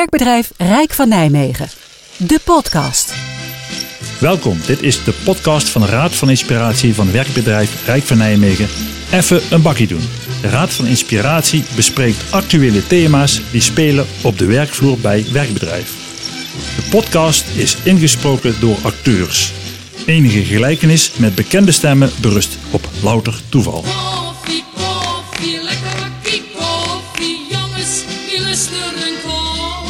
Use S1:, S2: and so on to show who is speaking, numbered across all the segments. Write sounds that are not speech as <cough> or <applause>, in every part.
S1: Werkbedrijf Rijk van Nijmegen. De podcast.
S2: Welkom, dit is de podcast van de Raad van Inspiratie van werkbedrijf Rijk van Nijmegen. Even een bakkie doen. De Raad van Inspiratie bespreekt actuele thema's die spelen op de werkvloer bij werkbedrijf. De podcast is ingesproken door acteurs. Enige gelijkenis met bekende stemmen berust op louter toeval.
S3: Koffie, koffie, lekker bakkie koffie. Jongens, die luisteren kom.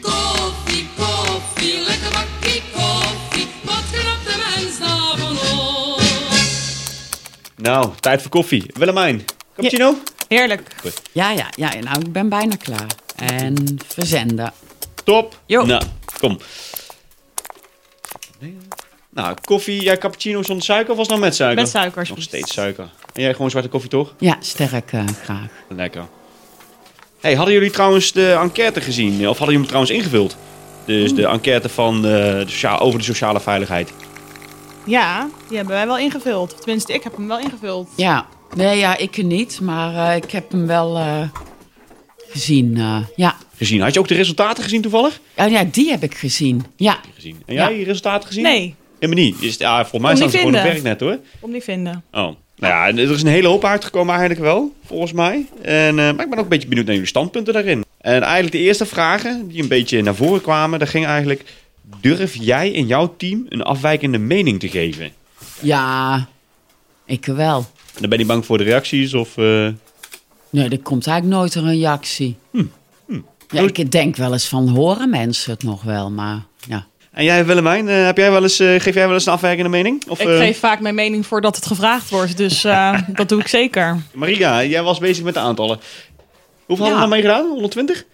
S3: Koffie, koffie, lekker bakkie koffie. Wat knapt de mens daarvan op?
S4: Nou, tijd voor koffie. Willemijn, cappuccino?
S5: Heerlijk.
S4: Goed.
S5: Ja, ja, ja. Nou, ik ben bijna klaar. En verzenden.
S4: Top.
S5: Jo.
S4: Nou, kom. Nou, koffie, jij cappuccino zonder suiker of was het nou met suiker?
S6: Met suiker,
S4: Nog
S6: alsjeblieft.
S4: steeds suiker. En jij gewoon zwarte koffie, toch?
S5: Ja, sterk eh, graag.
S4: Lekker. hey, hadden jullie trouwens de enquête gezien? Of hadden jullie hem trouwens ingevuld? Dus de enquête van, eh, de socia- over de sociale veiligheid.
S6: Ja, die hebben wij wel ingevuld. Of Tenminste, ik heb hem wel ingevuld.
S5: Ja. Nee, ja, ik niet. Maar eh, ik heb hem wel eh, gezien. eh, ja.
S4: Gezien. Had je ook de resultaten gezien toevallig?
S5: Oh ja, die heb ik gezien. Ja.
S4: Gezien. En jij
S5: Ja.
S4: je resultaten gezien?
S6: Nee,
S4: Helemaal niet. Is het- Ja, volgens mij
S6: Kon
S4: staan
S6: niet
S4: ze gewoon op
S6: vinden.
S4: werknet hoor.
S6: om niet vinden.
S4: Oh. Nou ja, en er is een hele hoop uitgekomen eigenlijk wel, volgens mij. En, eh, maar ik ben ook een beetje benieuwd naar jullie standpunten daarin. En eigenlijk de eerste vragen die een beetje naar voren kwamen, daar ging eigenlijk... Durf jij in jouw team een afwijkende mening te geven?
S5: Ja. Ik wel.
S4: En dan ben je bang voor de reacties of... eh,
S5: Nee, er komt eigenlijk nooit een reactie. Ja, ik denk wel eens van horen mensen het nog wel, maar ja.
S4: En jij Willemijn, eh, heb jij wel eens, eh, geef jij wel eens een afwijkende mening? Of,
S6: Ik
S4: eh,
S6: geef vaak mijn mening voordat het gevraagd wordt. Dus eh, <laughs> dat doe ik zeker.
S4: Maria, jij was bezig met de aantallen. Hoeveel
S5: Ja.
S4: hadden we daarmee gedaan? 120?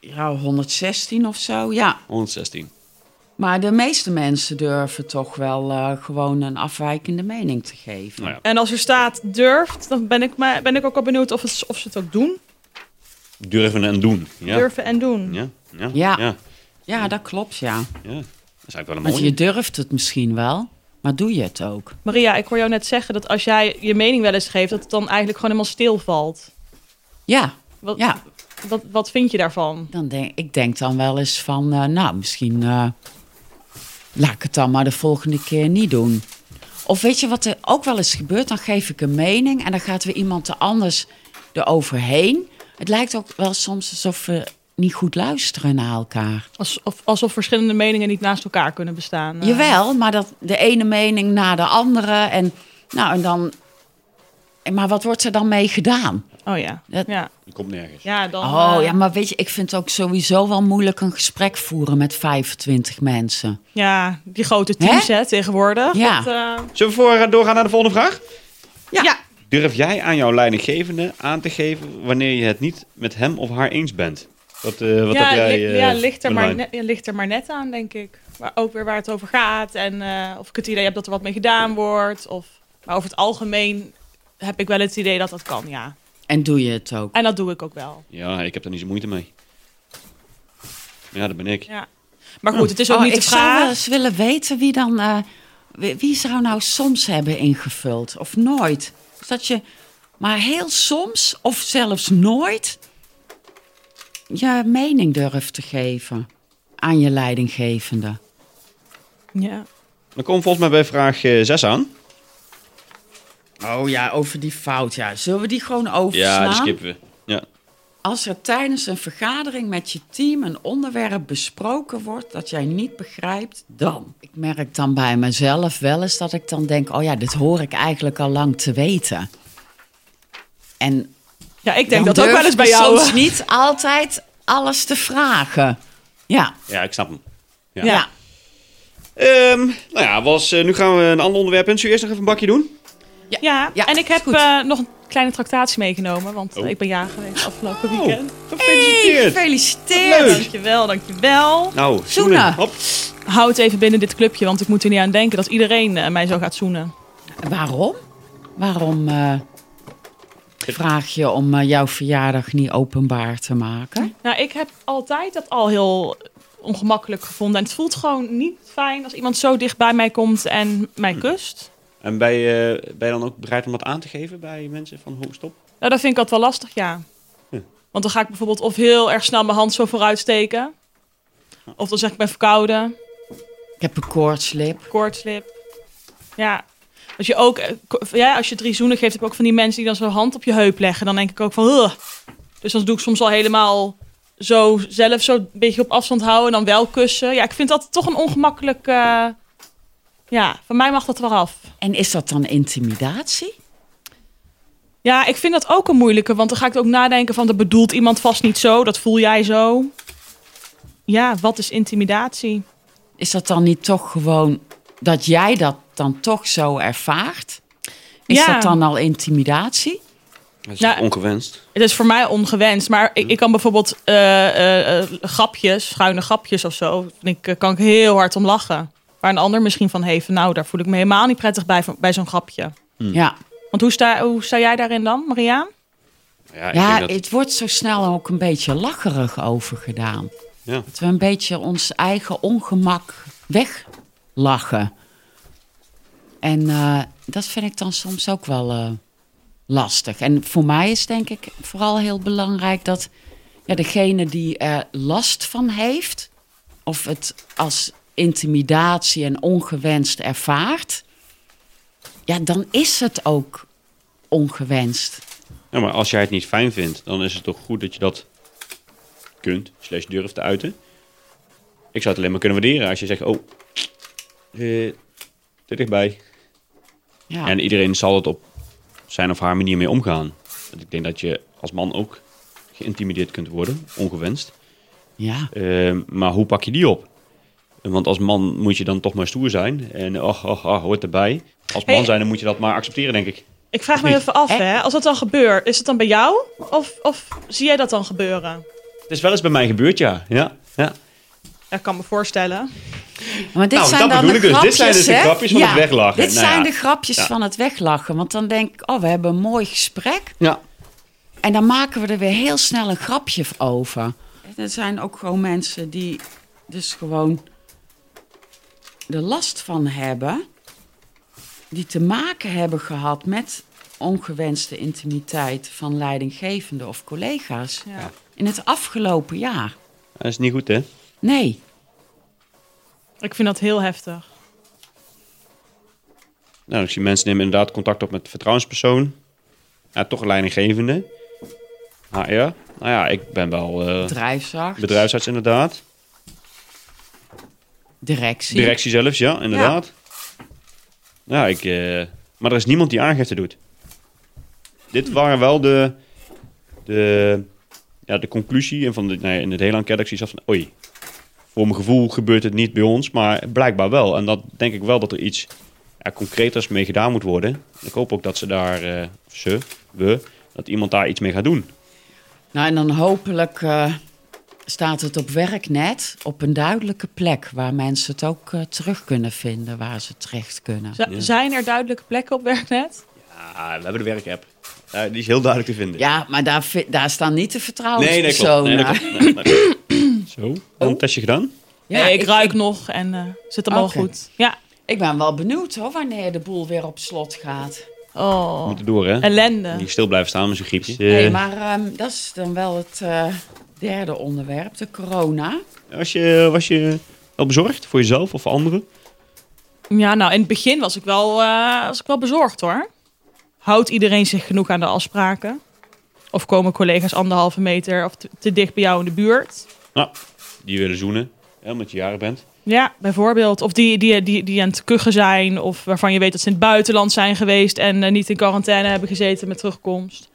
S5: Ja, 116 of zo, ja.
S4: 116.
S5: Maar de meeste mensen durven toch wel eh, gewoon een afwijkende mening te geven.
S4: Nou ja.
S6: En als er staat durft, dan ben ik, maar, ben ik ook al benieuwd of, het, of ze het ook doen.
S4: Durven en doen. Ja.
S6: Durven en doen.
S4: Ja. Ja.
S5: Ja.
S4: ja.
S5: Ja, dat klopt, ja.
S4: ja. Dat is eigenlijk wel een
S5: Want
S4: mooie.
S5: je durft het misschien wel, maar doe je het ook?
S6: Maria, ik hoor jou net zeggen dat als jij je mening wel eens geeft, dat het dan eigenlijk gewoon helemaal stilvalt.
S5: Ja,
S6: Wat,
S5: ja.
S6: wat, wat vind je daarvan?
S5: Dan denk, ik denk dan wel eens van, eh, nou, misschien eh, laat ik het dan maar de volgende keer niet doen. Of weet je wat er ook wel eens gebeurt? Dan geef ik een mening en dan gaat weer iemand er anders eroverheen. Het lijkt ook wel soms alsof we niet goed luisteren naar elkaar.
S6: Als, of, alsof verschillende meningen niet naast elkaar kunnen bestaan. eh.
S5: Jawel, maar dat de ene mening na de andere. En, nou, en dan, en maar wat wordt er dan mee gedaan?
S6: Oh ja.
S5: Dat-
S6: Ja,
S4: Je komt nergens.
S6: ja dan.
S5: Oh
S6: eh,
S5: ja, maar weet je, ik vind het ook sowieso wel moeilijk een gesprek voeren met 25 mensen.
S6: Ja, die grote teams hè, tegenwoordig.
S5: Ja.
S6: Dat, eh,
S4: Zullen we voor, eh, doorgaan naar de volgende vraag?
S6: ja.
S4: Durf jij aan jouw leidinggevende aan te geven wanneer je het niet met hem of haar eens bent? Wat, eh, wat
S6: ja,
S4: heb jij?
S6: li-
S4: eh,
S6: ja, ligt er maar
S4: online?
S6: net, ja, ligt er maar net aan, denk ik. Maar ook weer waar het over gaat. En eh, of ik het idee heb dat er wat mee gedaan wordt. Of, maar over het algemeen heb ik wel het idee dat dat kan, ja.
S5: En doe je het ook?
S6: En dat doe ik ook wel.
S4: Ja, ik heb daar niet zo moeite mee. Ja, dat ben ik.
S6: Ja. Maar goed, het is ook
S5: Oh,
S6: niet
S5: ik
S6: de
S5: zou wel
S6: vraag.
S5: eens willen weten wie dan. eh, wie, wie zou nou soms hebben ingevuld of nooit? Dus dat je maar heel soms of zelfs nooit je mening durft te geven aan je leidinggevende.
S6: Ja.
S4: Dan komen we volgens mij bij vraag 6 aan.
S5: Oh ja, over die fout. Ja. Zullen we die gewoon overslaan?
S4: we. Ja.
S5: Als er tijdens een vergadering met je team een onderwerp besproken wordt dat jij niet begrijpt, dan. Ik merk dan bij mezelf wel eens dat ik dan denk: oh ja, dit hoor ik eigenlijk al lang te weten. En
S6: ja, ik
S5: dan
S6: denk dat ook
S5: durf
S6: wel eens
S5: ik
S6: bij jou.
S5: Soms niet altijd alles te vragen. Ja,
S4: ja, ik snap hem. Ja.
S5: ja.
S4: Ehm, nou ja, was, eh, nu gaan we een ander onderwerp in. Zullen we eerst nog even een bakje doen?
S6: Ja.
S5: Ja,
S6: en ik heb
S5: goed.
S6: eh, nog een kleine tractatie meegenomen. Want eh,
S4: Oh.
S6: ik ben jager geweest afgelopen
S4: Oh,
S6: weekend.
S4: Gefeliciteerd!
S5: Gefeliciteerd.
S4: Leuk.
S6: Dankjewel, dankjewel.
S4: Nou,
S5: Zoenen.
S4: zoenen. Hop.
S6: Houd even binnen dit clubje, want ik moet er niet aan denken dat iedereen eh, mij zo gaat zoenen.
S5: Waarom? Waarom eh, vraag je om eh, jouw verjaardag niet openbaar te maken?
S6: Nou, ik heb altijd dat al heel ongemakkelijk gevonden. En het voelt gewoon niet fijn als iemand zo dicht bij mij komt en mij kust.
S4: En ben je, ben je dan ook bereid om dat aan te geven bij mensen van hoe stop?
S6: Nou, dat vind ik altijd wel lastig, ja. Want dan ga ik bijvoorbeeld of heel erg snel mijn hand zo vooruit steken. Of dan zeg ik ik ben verkouden,
S5: Ik heb een koortslip.
S6: koortslip. Ja. Als je ook, eh, ko- ja, als je drie zoenen geeft, heb ik ook van die mensen die dan zo'n hand op je heup leggen. Dan denk ik ook van, "Ugh." Dus dan doe ik soms al helemaal zo zelf zo een beetje op afstand houden en dan wel kussen. Ja, ik vind dat toch een ongemakkelijk, eh, ja, van mij mag dat er wel af.
S5: En is dat dan intimidatie?
S6: Ja, ik vind dat ook een moeilijke, want dan ga ik ook nadenken van, dat bedoelt iemand vast niet zo, dat voel jij zo. Ja, wat is intimidatie?
S5: Is dat dan niet toch gewoon dat jij dat dan toch zo ervaart? Is
S6: Ja.
S5: dat dan al intimidatie?
S4: Dat is
S6: Nou,
S4: ongewenst.
S6: Het is voor mij ongewenst, maar ik, ik kan bijvoorbeeld eh, eh, eh, grapjes, schuine grapjes of zo, vind ik, eh, kan ik heel hard om lachen. Waar een ander misschien van heeft, nou, daar voel ik me helemaal niet prettig bij, van- bij zo'n grapje.
S5: Ja,
S6: Want hoe sta, hoe sta jij daarin dan, Maria?
S4: Ja, ik
S5: ja
S4: denk dat-
S5: het wordt zo snel ook een beetje lacherig over gedaan.
S4: Ja.
S5: Dat we een beetje ons eigen ongemak weglachen. En eh, dat vind ik dan soms ook wel eh, lastig. En voor mij is denk ik vooral heel belangrijk dat ja, degene die er last van heeft, of het als intimidatie en ongewenst ervaart, ja, dan is het ook ongewenst.
S4: Ja, maar als jij het niet fijn vindt, dan is het toch goed dat je dat kunt, slash durft te uiten. Ik zou het alleen maar kunnen waarderen als je zegt, oh, eh, te dichtbij.
S5: Ja.
S4: En iedereen zal het op zijn of haar manier mee omgaan. Want ik denk dat je als man ook geïntimideerd kunt worden, ongewenst.
S5: ja.
S4: Eh, maar hoe pak je die op? Want als man moet je dan toch maar stoer zijn. En och, och, och, hoort erbij. Als man
S6: Hey.
S4: zijn, dan moet je dat maar accepteren, denk ik.
S6: Ik vraag me even af,
S5: Eh?
S6: hè, als dat dan gebeurt, is het dan bij jou? Of, of zie jij dat dan gebeuren?
S4: Het is wel eens bij mij gebeurd, ja. ja, ja.
S6: Ja, ik kan me voorstellen.
S5: Maar dit
S4: Nou,
S5: zijn
S4: dat
S5: dan
S4: bedoel
S5: de
S4: ik dus. Dit
S5: grapjes,
S4: zijn dus de
S5: hè?
S4: grapjes van het weglachen.
S5: Dit
S4: Nou
S5: zijn
S4: ja.
S5: de grapjes
S4: Ja.
S5: van het weglachen. Want dan denk ik, oh, we hebben een mooi gesprek.
S4: ja.
S5: En dan maken we er weer heel snel een grapje over. Er zijn ook gewoon mensen die dus gewoon er last van hebben. Die te maken hebben gehad met ongewenste intimiteit van leidinggevenden of collega's.
S6: Ja.
S5: In het afgelopen jaar.
S4: Dat is niet goed, hè?
S5: Nee.
S6: Ik vind dat heel heftig.
S4: Nou, ik zie mensen nemen inderdaad contact op met vertrouwenspersoon. Ja, toch een leidinggevende. HR. Nou ja, ik ben wel eh,
S5: Bedrijfsarts.
S4: bedrijfsarts inderdaad.
S5: Directie.
S4: Directie zelfs, ja, inderdaad. Ja, ik, eh, maar er is niemand die aangifte doet. Dit waren wel de, de, ja, de conclusie en van de, nee, in het hele enquête. Ik zie zelfs van, oei, voor mijn gevoel gebeurt het niet bij ons, maar blijkbaar wel. En dat denk ik wel dat er iets ja, concreters mee gedaan moet worden. Ik hoop ook dat ze daar, eh, of ze, we, dat iemand daar iets mee gaat doen.
S5: Nou, en dan hopelijk eh, staat het op werknet op een duidelijke plek waar mensen het ook eh, terug kunnen vinden, waar ze terecht kunnen.
S6: Z- Zijn er duidelijke plekken op werknet?
S4: Ja, we hebben de werkapp. Ja, die is heel duidelijk te vinden.
S5: Ja, maar daar, vi- daar staan niet de
S4: nee, nee, klopt.
S5: vertrouwenspersonen.
S4: Nee, dat klopt. Nee, dat klopt. Zo, dan een testje gedaan.
S5: Ja,
S6: nee, ik,
S5: ik-
S6: ruik nog en eh, zit allemaal
S5: Oké.
S6: goed. Ja.
S5: Ik ben wel benieuwd hoor, wanneer de boel weer op slot gaat.
S4: We
S6: Oh,
S4: moeten door, hè?
S6: ellende.
S4: Niet stil blijven staan met zo'n griepje. Eh,
S5: Nee, maar ehm, dat is dan wel het eh, derde onderwerp, de corona.
S4: was, je, was je wel bezorgd voor jezelf of voor anderen?
S6: Ja, nou, in het begin was ik wel, eh, was ik wel bezorgd hoor. Houdt iedereen zich genoeg aan de afspraken? Of komen collega's anderhalve meter of te, te dicht bij jou in de buurt?
S4: Nou, die willen zoenen. Hè, omdat je jarig bent.
S6: Ja, bijvoorbeeld. Of die, die, die, die aan het kuchen zijn. Of waarvan je weet dat ze in het buitenland zijn geweest. En eh, niet in quarantaine hebben gezeten met terugkomst.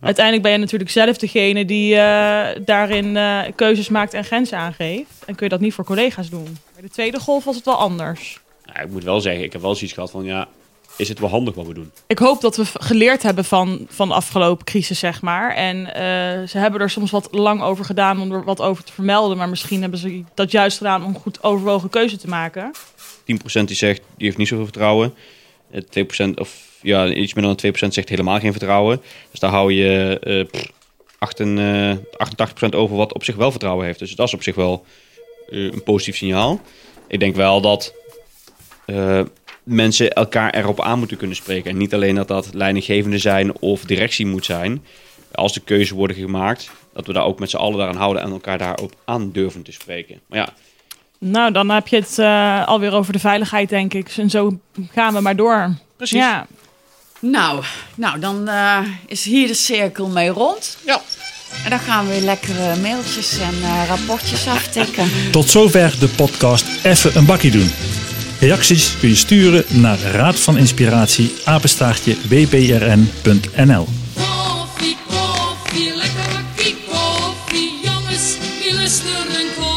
S6: Uiteindelijk ben je natuurlijk zelf degene die eh, daarin eh, keuzes maakt en grenzen aangeeft. En kun je dat niet voor collega's doen. Bij de tweede golf was het wel anders.
S4: Nou, ik moet wel zeggen, ik heb wel zoiets gehad van ja, is het wel handig wat we doen?
S6: Ik hoop dat we v- geleerd hebben van, van de afgelopen crisis, zeg maar. En eh, ze hebben er soms wat lang over gedaan om er wat over te vermelden. Maar misschien hebben ze dat juist gedaan om goed overwogen keuze te maken.
S4: 10% die zegt, die heeft niet zoveel vertrouwen. Eh, 2% of ja, iets minder dan 2% zegt helemaal geen vertrouwen. Dus daar hou je eh, pff, 88, 88% over wat op zich wel vertrouwen heeft. Dus dat is op zich wel eh, een positief signaal. Ik denk wel dat eh, mensen elkaar erop aan moeten kunnen spreken. En niet alleen dat dat leidinggevende zijn of directie moet zijn. als de keuzes worden gemaakt, dat we daar ook met z'n allen daaraan houden en elkaar daarop aan durven te spreken. Maar ja,
S6: Nou, dan heb je het eh, alweer over de veiligheid, denk ik. En zo gaan we maar door.
S4: Precies.
S6: Ja.
S5: Nou, nou dan eh, is hier de cirkel mee rond.
S4: Ja.
S5: En dan gaan we weer lekkere mailtjes en eh, rapportjes aftikken.
S2: Tot zover de podcast Even een bakkie doen. Reacties kun je sturen naar raadvaninspiratie@wprn.nl.
S3: Koffie, koffie, lekker bakkie koffie. Jongens, die luisteren koffie.